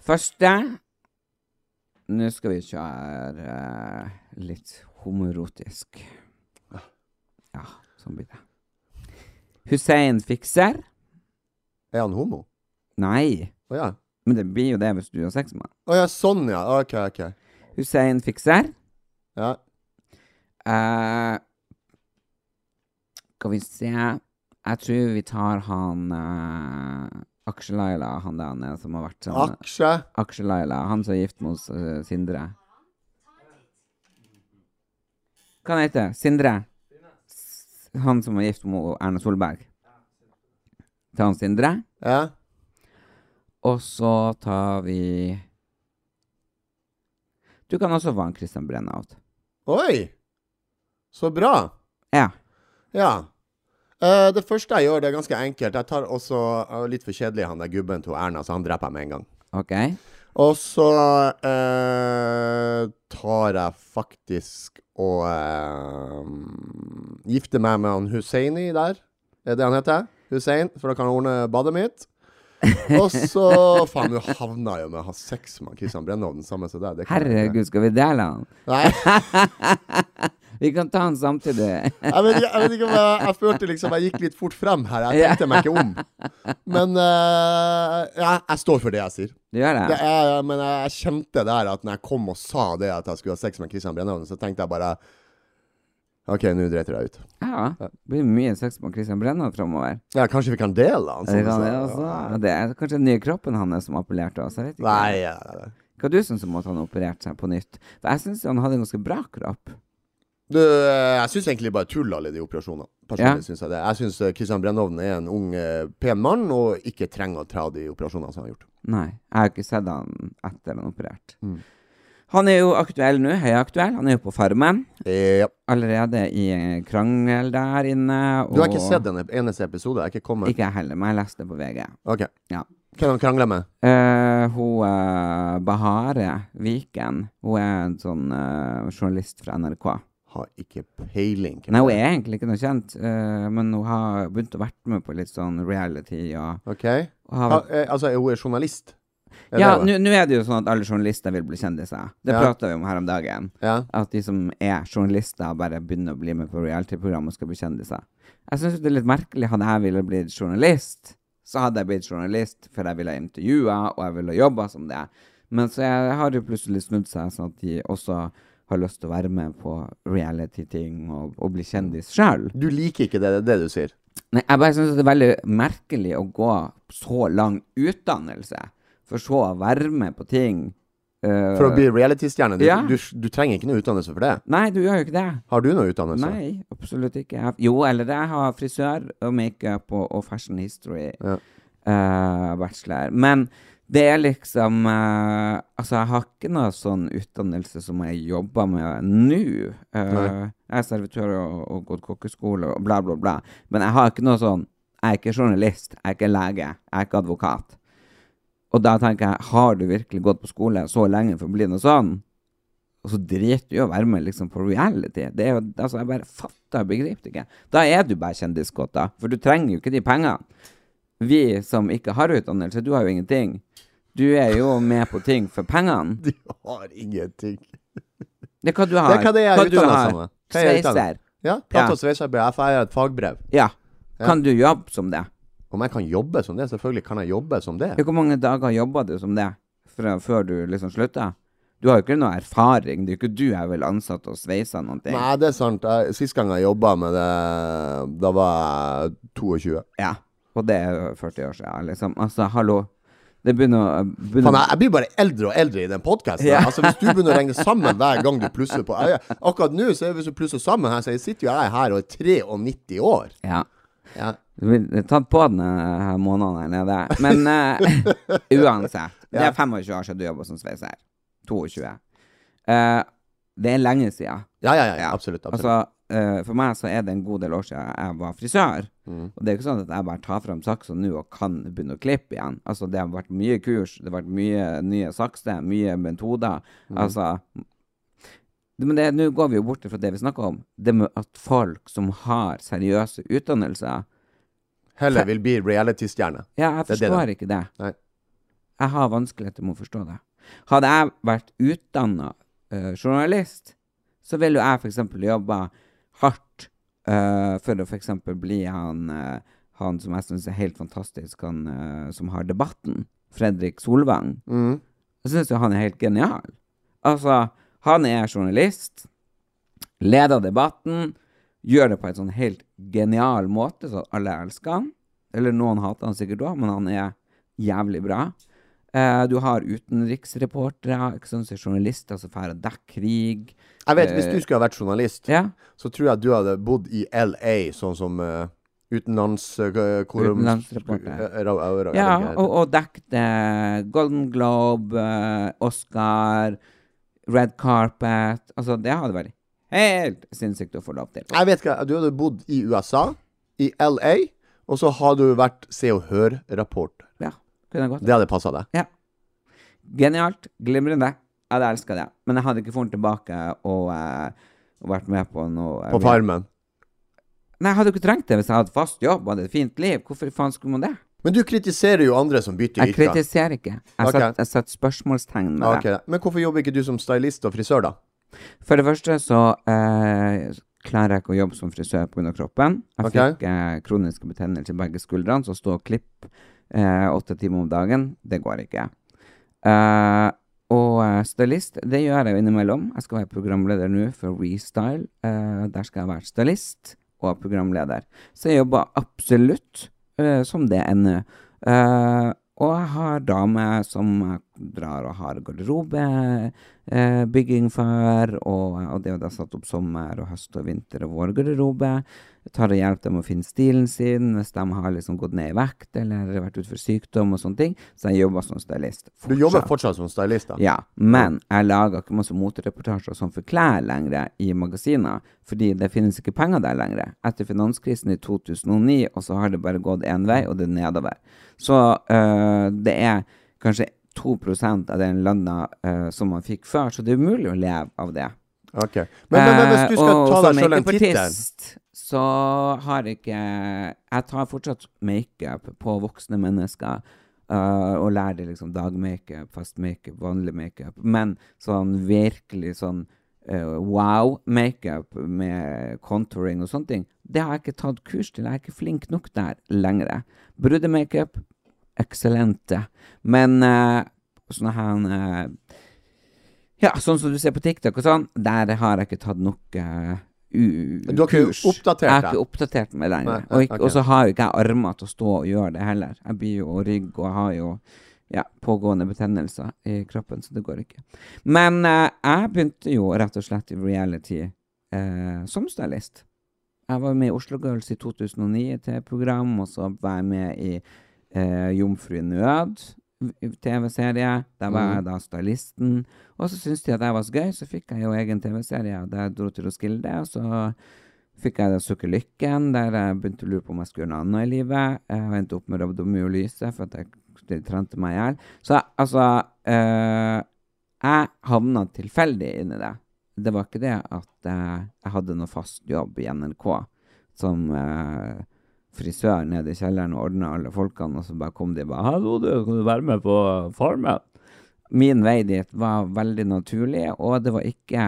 første Nå skal vi kjøre eh, litt homoerotisk. Ja, sånn blir det. Hussein fikser? Er han homo? Nei. Å ja. Men det blir jo det hvis du har sex med han. Å ja, sånn ja. OK, OK. Hussein fikser. Ja. Eh, skal vi se Jeg tror vi tar han uh, Aksje-Laila, han der nede som har vært sånn Aksje. Aksje-Laila, han som er gift med hos, eh, Sindre. Hva han heter Sindre? S- Han som var gift med Erna Solberg. Ta han Sindre. Ja. Og så tar vi Du kan også være en Christian Brennaud. Oi! Så bra. Ja. Ja. Eh, det første jeg gjør, det er ganske enkelt. Jeg tar også eh, litt for kjedelig han der gubben til Erna, så han dreper jeg med en gang. OK. Og så eh, tar jeg faktisk og eh, gifter meg med han Husseini der. Er det han heter? Hussein, for da kan han ordne badet mitt. Og så Faen, nå havna jeg jo med å ha sex med han Christian Brennov, den samme som deg. Det kan jeg ikke. Herregud, skal vi dele han? Nei. Vi kan ta han samtidig. jeg vet, ikke, jeg vet ikke om jeg, jeg følte liksom jeg gikk litt fort frem her. Jeg tenkte meg ikke om. Men eh, ja, jeg står for det jeg sier. Du gjør Det det? er, men jeg, jeg kjente der at når jeg kom og sa det at jeg skulle ha sex med Christian Brennhovden, så tenkte jeg bare OK, nå driter jeg ut. Ja. Det blir mye sex med Christian Brenna framover. Ja, kanskje vi kan dele han? som Det, du kan altså. sa. det, også. det er kanskje den nye kroppen hans som appellerte oss. Jeg vet ikke. Nei, ja, ja, ja. Hva du syns om at han opererte seg på nytt? For jeg syns han hadde en ganske bra kropp. Du, jeg syns egentlig bare tull, alle de operasjonene. Ja. Personlig synes jeg det. Jeg syns Christian Brennhovden er en ung, eh, pen mann og ikke trenger å ta de operasjonene som han har gjort. Nei, jeg har ikke sett han etter han operert. Mm. Han er jo aktuell nå, høyaktuell. Han er jo på Farmen. Eh, Ja. Allerede i eh, krangel der inne. Du har ikke og- sett den eneste episode? Jeg er ikke kommet? Ikke jeg heller, men jeg leste det på VG. Ok. Ja. Hvem han krangler med? Eh, hun eh, Bahare Viken, hun er en sånn eh, journalist fra NRK. Har ikke peiling. hvem Nei, hun det er egentlig ikke noe kjent, eh, men hun har begynt å vært med på litt sånn reality og, Ok. og Ha, har, eh, altså, hun er journalist? Er Ja, det det? nå nå er det jo sånn at alle journalister vil bli kjendiser. Det Ja. prata vi om her om dagen. Ja. At de som er journalister, bare begynner å bli med på reality-program og skal bli kjendiser. Jeg syns det er litt merkelig. Hadde jeg ville blitt journalist, så hadde jeg blitt journalist, for jeg ville intervjua, og jeg ville jobba som det. Men så jeg har jo plutselig snudd seg, sånn at de også har lyst til å være med på reality-ting og, og bli kjendis sjøl. Du liker ikke det, det er det du sier? Nei, jeg bare synes det er veldig merkelig å gå så lang utdannelse, for så å være med på ting. eh, For å bli reality-stjerne? Du, ja. du, du trenger ikke noe utdannelse for det? Nei, du gjør jo ikke det. Har du noe utdannelse? Nei, absolutt ikke. Jeg- Jo, eller jeg har frisør og makeup og, og fashion history Ja. eh, bachelor. Men det er liksom eh, Altså, jeg har ikke noe sånn utdannelse som jeg jobber med nå. Eh, Nei. jeg er servitør og, og gått kokkeskole og bla, bla, bla. Men jeg har ikke noe sånn Jeg er ikke journalist, jeg er ikke lege, jeg er ikke advokat. Og da tenker jeg, har du virkelig gått på skole så lenge for å bli noe sånn? Og så driter du i å være med liksom, på reality. Det er jo, altså, jeg bare fatter og begriper det ikke. Da er du bare kjendiskåta, for du trenger jo ikke de pengene. Vi som ikke har utdannelse, du har jo ingenting. Du er jo med på ting for pengene. Du har ingenting. Det er hva du Det har. er hva det er Hva du utdannet har. som. Hva er jeg utdannet? Sveiser. Ja, Plate- Ja. og sveiserbrev. Jeg har et fagbrev. Ja. Kan du jobbe som det? Om jeg kan jobbe som det? Selvfølgelig kan jeg jobbe som det. Ja, Hvor mange dager jobba du som det fra før du liksom slutta? Du har jo ikke noe erfaring. Det er jo ikke du er vel ansatt og sveisa noen ting. Nei, det er sant. Jeg- Sist gang jeg jobba med det, da var jeg 22. Ja. Og det er jo 40 år siden, liksom. Altså, hallo. Det begynner å begynner- Faen, jeg, jeg blir bare eldre og eldre i den podkasten. Ja. Altså, hvis du begynner å regne sammen hver gang du plusser på jeg, Akkurat nå, så er hvis du plusser sammen her, så jeg sitter jo jeg her og er 93 år. Ja. Ja. Du blir tatt på den eh, her måneden her nede. Men eh, uansett. Det Ja. er 25 år siden du jobba som sveiser. 22. Eh, det er lenge siden. Ja, ja, ja, Ja. absolutt. absolutt. Altså, eh, For meg så er det en god del år siden jeg var frisør. Og det er jo ikke sånn at jeg bare tar fram saksa nå og kan begynne å klippe igjen. Altså, det har vært mye kurs, det har vært mye nye sakser, mye metoder. Altså det- Men det- nå går vi jo bort fra det vi snakker om. Det med at folk som har seriøse utdannelser Heller vil bli reality-stjerne. ja, jeg Det er det, da. forstår ikke det. Nei. Jeg har vanskeligheter med å forstå det. Hadde jeg vært utdanna journalist, så ville jo jeg f.eks. jobba hardt eh, for å f.eks. bli han, eh, han som jeg syns er helt fantastisk, han eh, som har Debatten. Fredrik Solvang. Mm. Jeg syns jo han er helt genial. Altså, han er journalist, leder debatten, gjør det på en sånn helt genial måte, så alle elsker han. Eller noen hater han sikkert òg, men han er jævlig bra. Eh, du har utenriksreportere, ikke sant, så journalister som drar og dekker krig. Jeg vet, Hvis du skulle ha vært journalist, Ja. så tror jeg du hadde bodd i LA, sånn som uh, Utenlandsreporter. Ja, og, og dekket Golden Globe, eh, Oscar, Red Carpet Altså, det hadde vært helt sinnssykt å få lov til. Jeg vet ikke, du hadde bodd i USA, i LA, og så har du vært Se og Hør-rapport. Ja, kunne gått. Det hadde passa deg. Ja. Genialt. Glimrende. Jeg hadde elska det. Men jeg hadde ikke funnet tilbake og, eh, og vært med på noe eh, På Farmen. Nei, jeg hadde jo ikke trengt det hvis jeg hadde fast jobb og hadde et fint liv. Hvorfor faen skulle man det? Men du kritiserer jo andre som bytter Jeg yrke. kritiserer ikke. Jeg Ok. setter jeg setter spørsmålstegn med Ah, det. ok. Men hvorfor jobber ikke du som stylist og frisør, da? For det første så eh, klarer jeg ikke å jobbe som frisør pga. kroppen. Jeg Ok. fikk eh, kroniske betennelser i begge skuldrene, så stå og klipp eh, åtte timer om dagen, det går ikke. Eh, og eh, stylist, det gjør jeg jo innimellom. Jeg skal være programleder nå for Restyle. Eh, der skal jeg være stylist og programleder. Så jeg jobber absolutt eh, som det ender. Eh, og jeg har damer som jeg drar og har garderobebygging for, og, og det er jo da satt opp sommer og høst og vinter og vårgarderobe. Jeg tar og hjelper dem å finne stilen sin hvis de har liksom gått ned i vekt eller vært ute for sykdom og sånne ting. Så jeg jobber som stylist. Du jobber fortsatt som stylist, da? Ja, men jeg lager ikke masse motereportasjer og sånn for klær lenger i magasiner, fordi det finnes ikke penger der lenger. Etter finanskrisen i 2009, og så har det bare gått én vei, og det er nedover. Så øh, det er kanskje 2 av den lønna øh, som man fikk før, så det er umulig å leve av det. Ok. Men, men, men hvis du skal Eh, og ta som deg sjøl en tittel makeupartist, Så har ikke Jeg tar fortsatt makeup på voksne mennesker. eh, og lærer det liksom dagmakeup, fast makeup, vanlig makeup. Men sånn virkelig sånn wow-makeup med contouring og sånne ting, det har jeg ikke tatt kurs til. Jeg er ikke flink nok der lenger. Brudemakeup, eksellente. Men eh, sånne her eh, ja, sånn som du ser på TikTok og sånn, der har jeg ikke tatt nok eh, u- Du har ikke kurs. oppdatert Jeg har deg? ikke oppdatert meg Nei, lenger. Og, ikke, ok. og så har jo ikke jeg armer til å stå og gjøre det heller. Jeg blir jo rygg og har jo ja, pågående betennelser i kroppen, så det går ikke. Men eh, jeg begynte jo rett og slett i reality eh, som stylist. Jeg var med i Oslo Girls i 2009 til et program, og så var jeg med i eh, Jomfru i nød v- TV-serie. Der var jeg da stylisten. Og så syntes de at jeg var så gøy, så fikk jeg jo egen TV-serie. og Der jeg dro til Roskilde, og så fikk jeg da Sukker Lykken, der jeg begynte å lure på om jeg skulle gjøre noe annet i livet. Jeg endte opp med Rabdomio Lyse, for at jeg de trente meg i hjel. Så altså eh, Jeg havna tilfeldig inn i det. Det var ikke det at eh, jeg hadde noe fast jobb i NRK som eh, frisør nede i kjelleren og ordna alle folkene, og så bare kom de og bare 'Hallo, du, kan du være med på Farmen?' Min vei dit var veldig naturlig, og det var ikke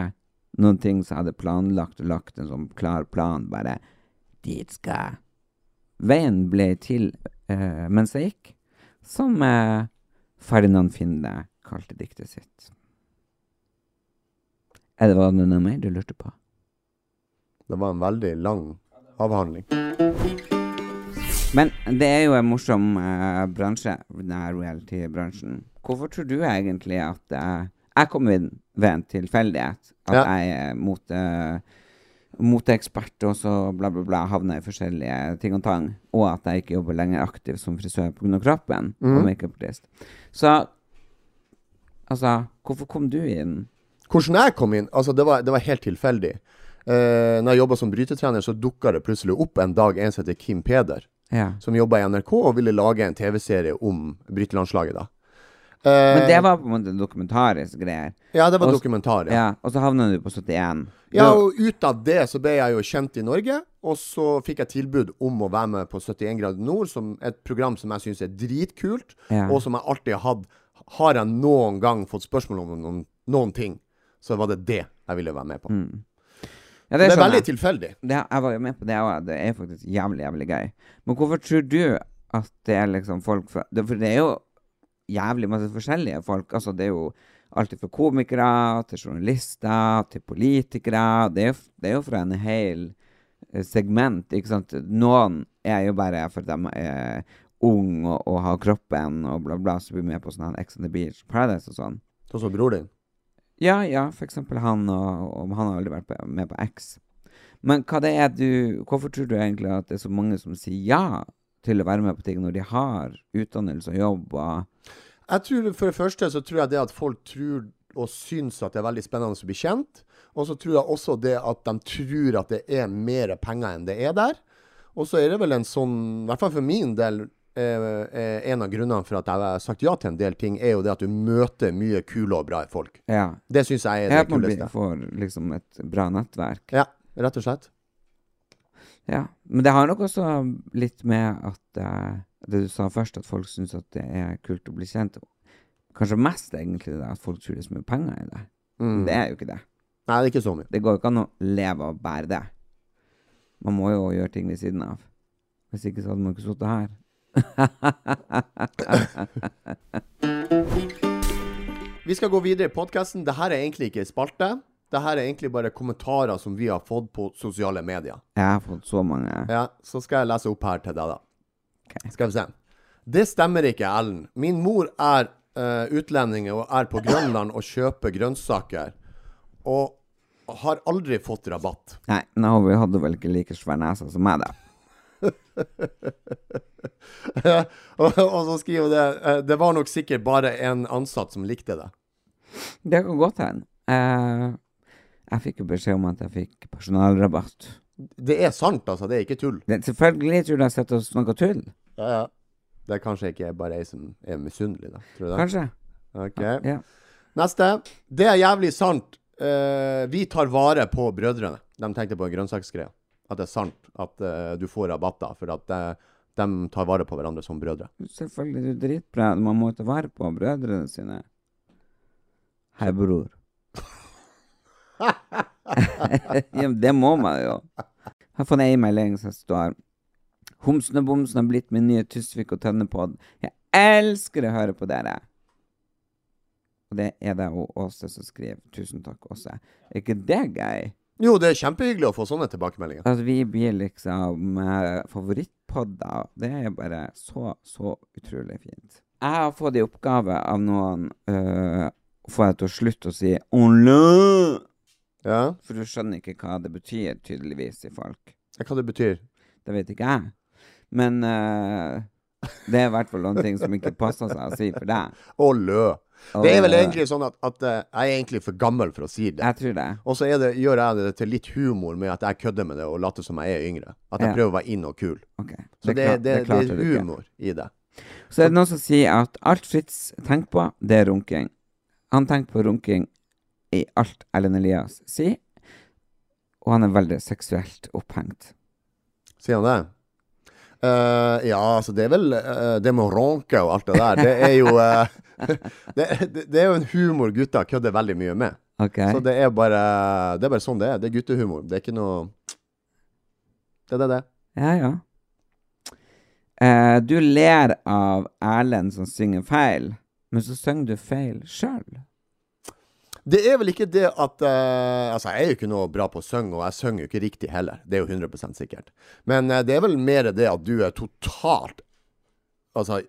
noen ting som jeg hadde planlagt og lagt en sånn klar plan, bare 'Dit skal jeg'. Veien ble til eh, mens jeg gikk, som eh, Ferdinand Finde kalte diktet sitt. Er det var det noe mer du lurte på? Det var en veldig lang avhandling. Men det er jo en morsom eh, bransje, denne reality-bransjen. Hvorfor tror du egentlig at eh, jeg kom inn ved en tilfeldighet? At Ja. jeg er mot, eh, moteekspert, og så bla, bla, bla, havner i forskjellige ting og tang. Og at jeg ikke jobber lenger aktivt som frisør pga. kroppen Mhm. og makeupartist. Så altså, hvorfor kom du inn? Hvordan jeg kom inn, altså det var, det var helt tilfeldig. eh, når jeg jobba som brytetrener, så dukka det plutselig opp en dag en som heter Kim Peder, Ja. som jobba i NRK og ville lage en TV-serie om brytelandslaget da. Men det var på en måte dokumentarisk greier. Ja, det var Og- dokumentar. Ja. Ja, og så havna du på 71. ja, Du- og ut av det så ble jeg jo kjent i Norge, og så fikk jeg tilbud om å være med på 71 grader nord, som et program som jeg syns er dritkult, Ja. og som jeg alltid har hatt. Har jeg noen gang fått spørsmål om noen, noen ting, så var det det jeg ville være med på. ja, Det er skjønner veldig jeg. tilfeldig. det, jeg var jo med på det òg. Det er faktisk jævlig, jævlig gøy. Men hvorfor tror du at det er liksom folk fra det, For det er jo jævlig masse forskjellige folk. Altså, det er jo alt fra komikere til journalister til politikere. Det er, jo- det er jo fra en hel eh, segment, ikke sant. Noen er jo bare for at de er ung og, og har kroppen og bla, bla, så blir de med på sånn her Ex on the Beach Paradise og sånn. Sånn som bror din. Ja, ja, for eksempel han, og, og han har aldri vært på- med på X. Men hva det er du, hvorfor tror du egentlig at det er så mange som sier ja til å være med på ting når de har utdannelse og jobb? Og, Jeg tror For det første så tror jeg det at folk tror og syns at det er veldig spennende å bli kjent. Og så tror jeg også det at de tror at det er mer penger enn det er der. Og så er det vel en sånn, i hvert fall for min del, eh, eh, en av grunnene for at jeg har sagt ja til en del ting, er jo det at du møter mye kule og bra folk. ja. Det syns jeg er Jeg det at man blir, kuleste. får liksom et bra nettverk. Ja, rett og slett. Ja. Men det har nok også litt med at eh, det du sa først, at folk syns at det er kult å bli kjent. Kanskje mest egentlig det at folk tror det er så mye penger i det. Men Det er jo ikke det. Mm. Nei, det er ikke så mye. Det går jo ikke an å leve og bære det. Man må jo gjøre ting ved siden av. Hvis ikke så hadde man ikke sittet her. Vi skal gå videre i podkasten. Dette er egentlig ikke en spalte. Dette er egentlig bare kommentarer som vi har fått på sosiale medier. Jeg har fått så mange Ja, så skal jeg lese opp her til deg, da. Skal vi se. Det stemmer ikke, Ellen. Min mor er eh, utlending og er på Grønland og kjøper grønnsaker. Og har aldri fått rabatt. Nei, men jeg håper jeg hadde vel ikke like svær nese som meg, da. og, og så skriver det eh, Det var nok sikkert bare en ansatt som likte det. Det kan godt hende. Eh, jeg fikk jo beskjed om at jeg fikk personalrabatt. Det er sant, altså. Det er ikke tull. Det, selvfølgelig tror du jeg sitter og snakker tull. Det er kanskje ikke bare ei som er misunnelig, da. Tror du det? Kanskje. Ok. Ja. Neste. Det er jævlig sant. Eh, vi tar vare på brødrene. De tenkte på grønnsaksgreia. At det er sant at eh, du får rabatter, for at eh, de tar vare på hverandre som brødre. Selvfølgelig, du er dritbra. Man må ta vare på brødrene sine. Hei, bror. ja, men det må man jo. Jeg har fått ei melding som står Homsen og bomsen har blitt min nye Tysvik og Tønnepod. Jeg elsker å høre på dere. Og det er det jo Åse som skriver. Tusen takk, Åse. Er ikke det gøy? Jo, det er kjempehyggelig å få sånne tilbakemeldinger. At Altså, vi blir liksom eh, favorittpodder, det er bare så, så utrolig fint. Jeg har fått i oppgave av noen eh, å få deg til å slutte å si «Ole!» Ja. For du skjønner ikke hva det betyr, tydeligvis, i folk. Hva det betyr. Det vet ikke jeg. Men eh, det er i hvert fall noen ting som ikke passer seg å si for deg. Å, lø. Å, Det er vel lø. egentlig sånn at, at eh, jeg er egentlig for gammel for å si det. Jeg tror det. Og så er det, gjør jeg det til litt humor med at jeg kødder med det og later som jeg er yngre. At jeg Ja. prøver å være inn og kul. Ok. Så det, det, klar- det, klarte er du ikke. humor i det. Så er det noen som sier at alt Fritz tenker på, det er runking. Han tenker på runking i alt Ellen Elias sier, og han er veldig seksuelt opphengt. Sier han det? Eh, ja, altså det er vel eh, Det med å ronke og alt det der, det er jo eh, det, det, det er jo en humor gutta kødder veldig mye med. Ok? Så det er bare Det er bare sånn det er. Det er guttehumor. Det er ikke noe Det er det, det. Ja, ja. Eh, du ler av Erlend som synger feil, men så synger du feil sjøl. Det er vel ikke det at eh, Altså, jeg er jo ikke noe bra på å synge, og jeg synger jo ikke riktig heller. Det er jo 100 sikkert. Men eh, det er vel mer det at du er totalt Altså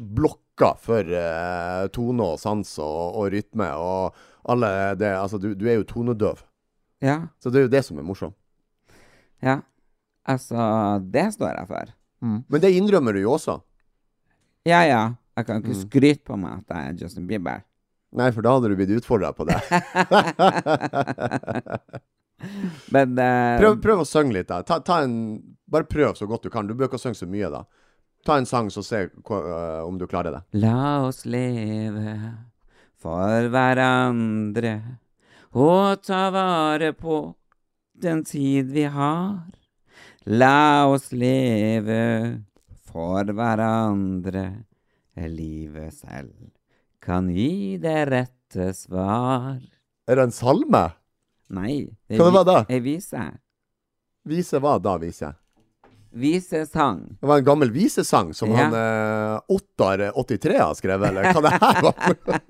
blokka for eh, tone og sans og, og rytme og alle det Altså, du, du er jo tonedøv. Ja, Så det er jo det som er morsomt. ja. Altså, det står jeg for. Men det innrømmer du jo også. Ja, ja. Jeg kan Mm. ikke skryte på meg at jeg er Justin Bieber. Nei, for da hadde du blitt utfordra på det. Men eh, Prøv, prøv å synge litt, da. Ta, ta en, bare prøv så godt du kan. Du bør ikke synge så mye, da. Ta en sang, så se hva, øh, om du klarer det. La oss leve for hverandre og ta vare på den tid vi har. La oss leve for hverandre. Livet selv kan gi det rette svar. Er det en salme? Nei, det Hva det var da? ei vise. Vise hva da, viser jeg? Visesang. Det var en gammel visesang som Ja. han eh, Ottar83 har skrevet, eller hva det her var for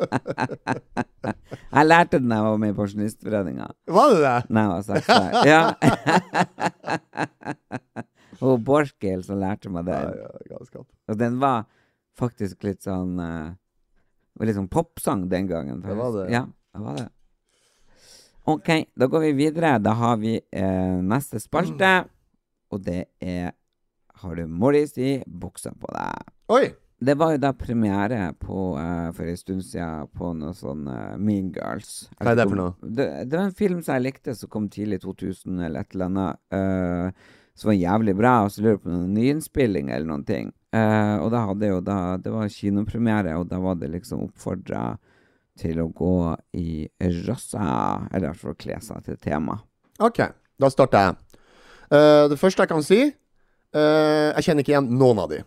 Jeg lærte den da jeg var med i Pensjonistforeninga. Var det det? Nei, jeg var seks år. Ja. Og Borchgrild som lærte meg Ja, den. ja, galskap. Og den var faktisk litt sånn eh, var Litt sånn popsang den gangen. Det var faktisk. det. Ja, det var det. Ok, da går vi videre. Da har vi eh, neste spalte, Mm. og det er Har du Morris i buksa på deg? Oi! Det var jo da premiere på, eh, for en stund siden på noe sånn eh, Mean Girls. Jeg Hva er det vet for ikke om- noe? Det, det var en film som jeg likte, som kom tidlig i 2000 eller et eller annet. eh, som var jævlig bra, og så lurer jeg på noen nyinnspilling eller noen ting. Eh, og da hadde jeg jo da Det var kinopremiere, og da var det liksom oppfordra til å gå i rossa, eller i hvert fall kle seg til tema. OK, da starter jeg. Eh, det første jeg kan si eh, Jeg kjenner ikke igjen noen av de.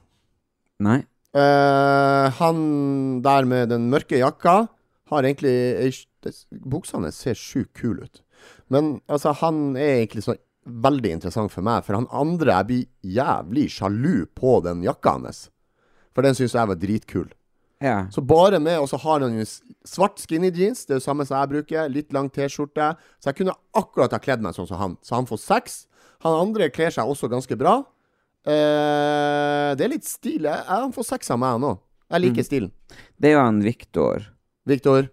Nei? Eh, han der med den mørke jakka har egentlig ei sj- det- Buksene ser sjukt kule ut. Men altså, han er egentlig så veldig interessant for meg, for han andre jeg blir jævlig sjalu på den jakka hans. For den syns jeg var dritkul. Ja. Så bare med, og så har han jo s- svart skinny jeans, det er det samme som jeg bruker, litt lang T-skjorte. Så jeg kunne akkurat ha kledd meg sånn som han. Så han får seks. Han andre kler seg også ganske bra. Eh, det er litt stil. Jeg, jeg- han får seks av meg nå. Jeg liker stilen. Det er jo han Viktor Viktor,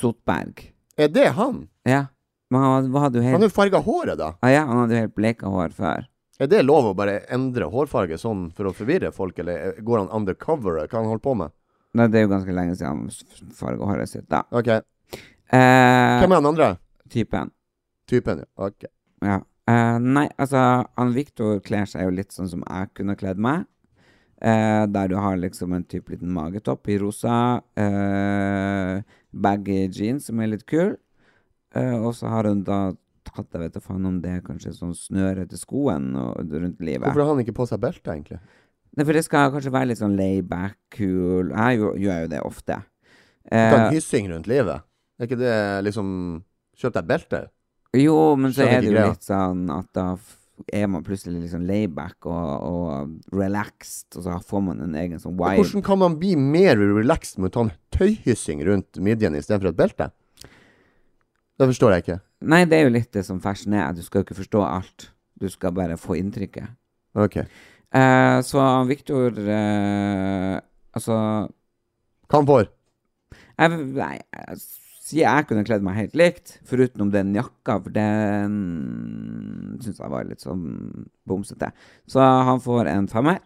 Sotberg. er det han? Ja. Men han hadde- hadde jo Han helt har jo farga håret, da. ah, ja, han hadde jo helt bleka hår før. Er det lov å bare endre hårfarge sånn for å forvirre folk, eller eh, går han undercover? Hva han holder på med? Nei, det er jo ganske lenge siden han farga håret sitt, da. Ok, Eh, Hvem er han andre? typen. Typen, ja. Ok. Ja. Eh, nei, altså, han Viktor kler seg jo litt sånn som jeg kunne kledd meg. Eh, der du har liksom en type liten magetopp i rosa, eh, baggy jeans som er litt kul. Eh, og så har hun da tatt, jeg vet da faen om det er kanskje sånn snøre til skoen og, rundt livet. Hvorfor har han ikke på seg belte, egentlig? Nei, for det skal kanskje være litt sånn layback, kul Jeg gjør, gjør jo det ofte. Ta en Eh, hyssing rundt livet. Er ikke det liksom Kjøp deg belte. jo, men så Skjønner er det ikke jo greia. litt sånn at da f- er man plutselig litt sånn layback og, og relaxed, og så får man en egen sånn Men vibe. Hvordan kan man bli mer relaxed med å ta en tøyhyssing rundt midjen istedenfor et belte? Det forstår jeg ikke. Nei, det er jo litt det som fashion er. Du skal jo ikke forstå alt. Du skal bare få inntrykket. Ok. Eh, så Viktor eh, Altså Hva han får? jeg, Nei, jeg sier jeg kunne kledd meg helt likt, foruten om den jakka, for den syns jeg var litt sånn bomsete. Så han får en femmer.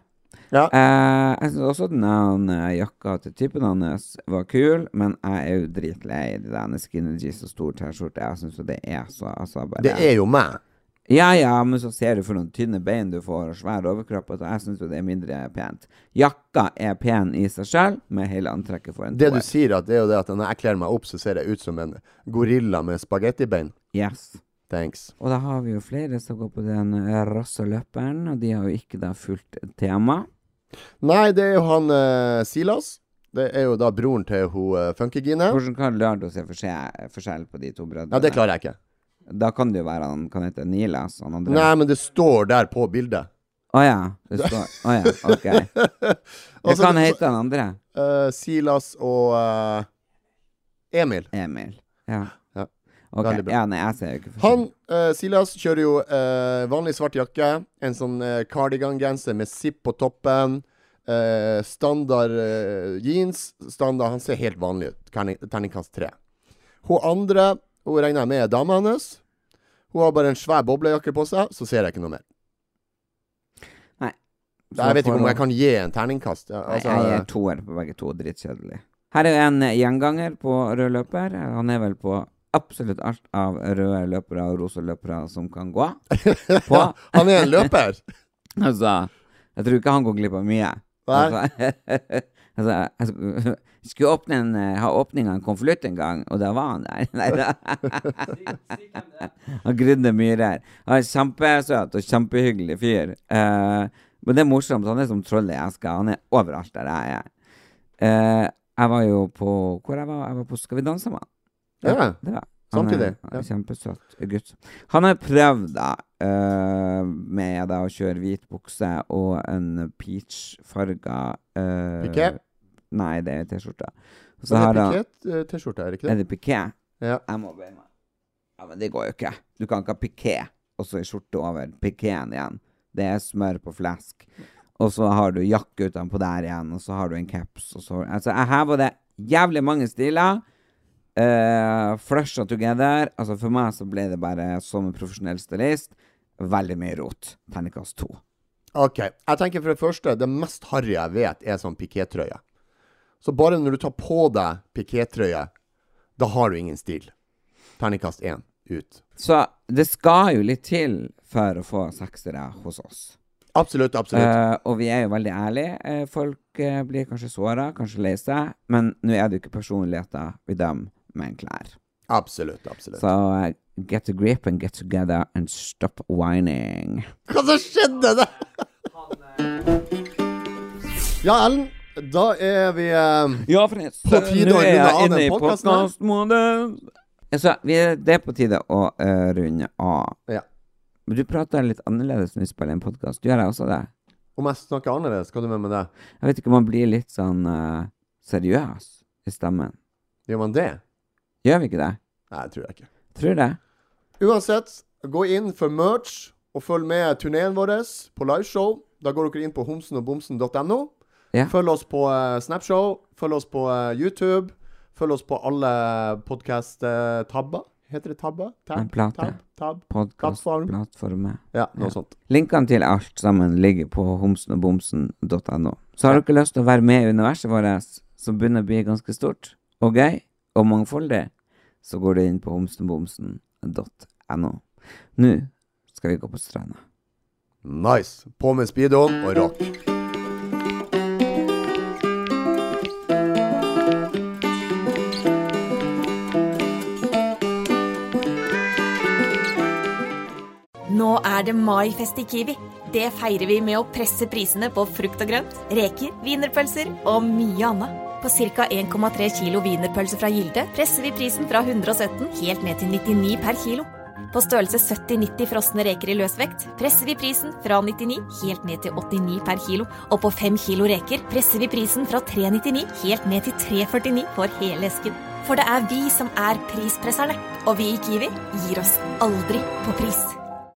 Ja. Eh, jeg syns også den der, eh, jakka til typen hans var kul, men jeg er jo dritlei de der skinny jeans og stor T-skjorte. Jeg syns jo det er så altså bare Det er jo meg. Ja ja, men så ser du for noen tynne bein du får, og svær overkropp, altså jeg syns jo det er mindre pent. Jakka er pen i seg sjøl, med hele antrekket for en Det du toer. sier, at det er jo det at når jeg kler meg opp, så ser jeg ut som en gorilla med spagettibein. Yes. Thanks. Og da har vi jo flere som går på den eh, rasseløperen, og de har jo ikke da fulgt tema. Nei, det er jo han eh, Silas. Det er jo da broren til hun uh, Funkygine. Hvordan kan Lardo se forskjell, forskjell på de to brødrene? Ja, det klarer jeg ikke. Da kan det jo være han kan hete Nilas, han andre. Nei, men det står der på bildet. Å ja, det står Å ja, ok. Hva Altså, kan det- hete han andre? Eh, Silas og eh, Emil. Emil. Ja. Ja. Ok, Veldig bra. ja, nei, jeg ser jo ikke Han, eh, Silas, kjører jo eh, vanlig svart jakke, en sånn eh, cardigan-genser med zipp på toppen, eh, standard eh, jeans, standard, han ser helt vanlig ut, Terning- terningkast 3. Hun andre, hun regner jeg med er dama hennes, hun har bare en svær boblejakke på seg, så ser jeg ikke noe mer. Nei. Jeg vet ikke om jeg kan gi en terningkast. Ja, altså, Nei, jeg er toer på begge to, dritkjedelig. Her er jo en gjenganger på rød løper. Han er vel på absolutt alt av røde løpere og rosa løpere som kan gå. På. Ja, han er en løper. Altså, jeg tror ikke han går glipp av mye. Nei. Altså, altså, jeg sk- skulle åpne en, eh, ha åpning av en konvolutt en gang, og da var han der. Nei da. Han grydde myrer. Han er kjempesøt og kjempehyggelig fyr. Eh, men det er morsomt. Han er som trollet i eska. Han er overalt der jeg er. Eh, jeg var jo på Hvor jeg var jeg? var på Skal vi danse med han? Ja. det var jeg. Samtidig, Han er, ja. han er kjempesøt gutt. Han har prøvd da eh, med da å kjøre hvit bukse og en peachfarga uh, Piqué? Nei, det er T-skjorte. Så Men har det han er piket T-skjorte, er det ikke Er det? det piqué? Ja. Jeg må bøye meg. Ja, men det går jo ikke. Du kan ikke ha piqué og så ei skjorte over piquéen igjen. Det er smør på flesk. Og så har du jakke utenpå der igjen, og så har du en caps, og så Altså, her var det jævlig mange stiler. Uh, Flusha together. Altså, for meg så ble det bare, som en profesjonell stylist, veldig mye rot. Terningkast to. OK. Jeg tenker for det første, det mest harry jeg vet, er sånn pikétrøye. Så bare når du tar på deg pikétrøye, da har du ingen stil. Terningkast én ut. Så det skal jo litt til for å få seksere hos oss. Absolutt, absolutt. Eh, og vi er jo veldig ærlige. Eh, folk eh, blir kanskje såra, kanskje lei seg, men nå er det jo ikke personligheter vi dømmer med en klær. absolutt, absolutt. Så eh, get a grip and get together and stop whining. Hva som skjedde der? Ja, Ellen. Da er vi eh, Ja, for det- På tide nå å er jeg runde av inne den i podcasten her. podcastmodus. Altså, vi er, det er på tide å eh, runde av. Ja. Men du prater litt annerledes når vi spiller en podkast. Gjør jeg også det? Om jeg snakker annerledes, hva du mener med det? Jeg vet ikke, man blir litt sånn eh, seriøs i stemmen. Gjør man det? Gjør vi ikke det? Nei, jeg tror jeg ikke. Tror det. Uansett, gå inn for merch, og følg med turneen vår på liveshow. Da går dere inn på homsenogbomsen.no. Ja. Følg oss på eh, Snapshow, følg oss på eh, YouTube, følg oss på alle podkast-tabber. Heter det tabber? En Tab, plate. tab, tab. Plattform. Podkastplattformer. Ja, noe sånt. Linkene til alt sammen ligger på homsenogbomsen.no. Så har dere lyst til å være med i universet vårt, som begynner å bli ganske stort og gøy og mangfoldig, så går du inn på homsenogbomsen.no. Nå skal vi gå på stranda. Nice. På med speedoen og rock. Nå er det maifest i Kiwi. Det feirer vi med å presse prisene på frukt og grønt, reker, wienerpølser og mye annet. På ca. 1,3 kilo wienerpølse fra Gilde presser vi prisen fra 117 helt ned til 99 per kilo. På størrelse 70-90 frosne reker i løsvekt presser vi prisen fra 99 helt ned til 89 per kilo. Og på 5 kilo reker presser vi prisen fra 399 helt ned til 349 for hele esken. For det er vi som er prispresserne, og vi i Kiwi gir oss aldri på pris.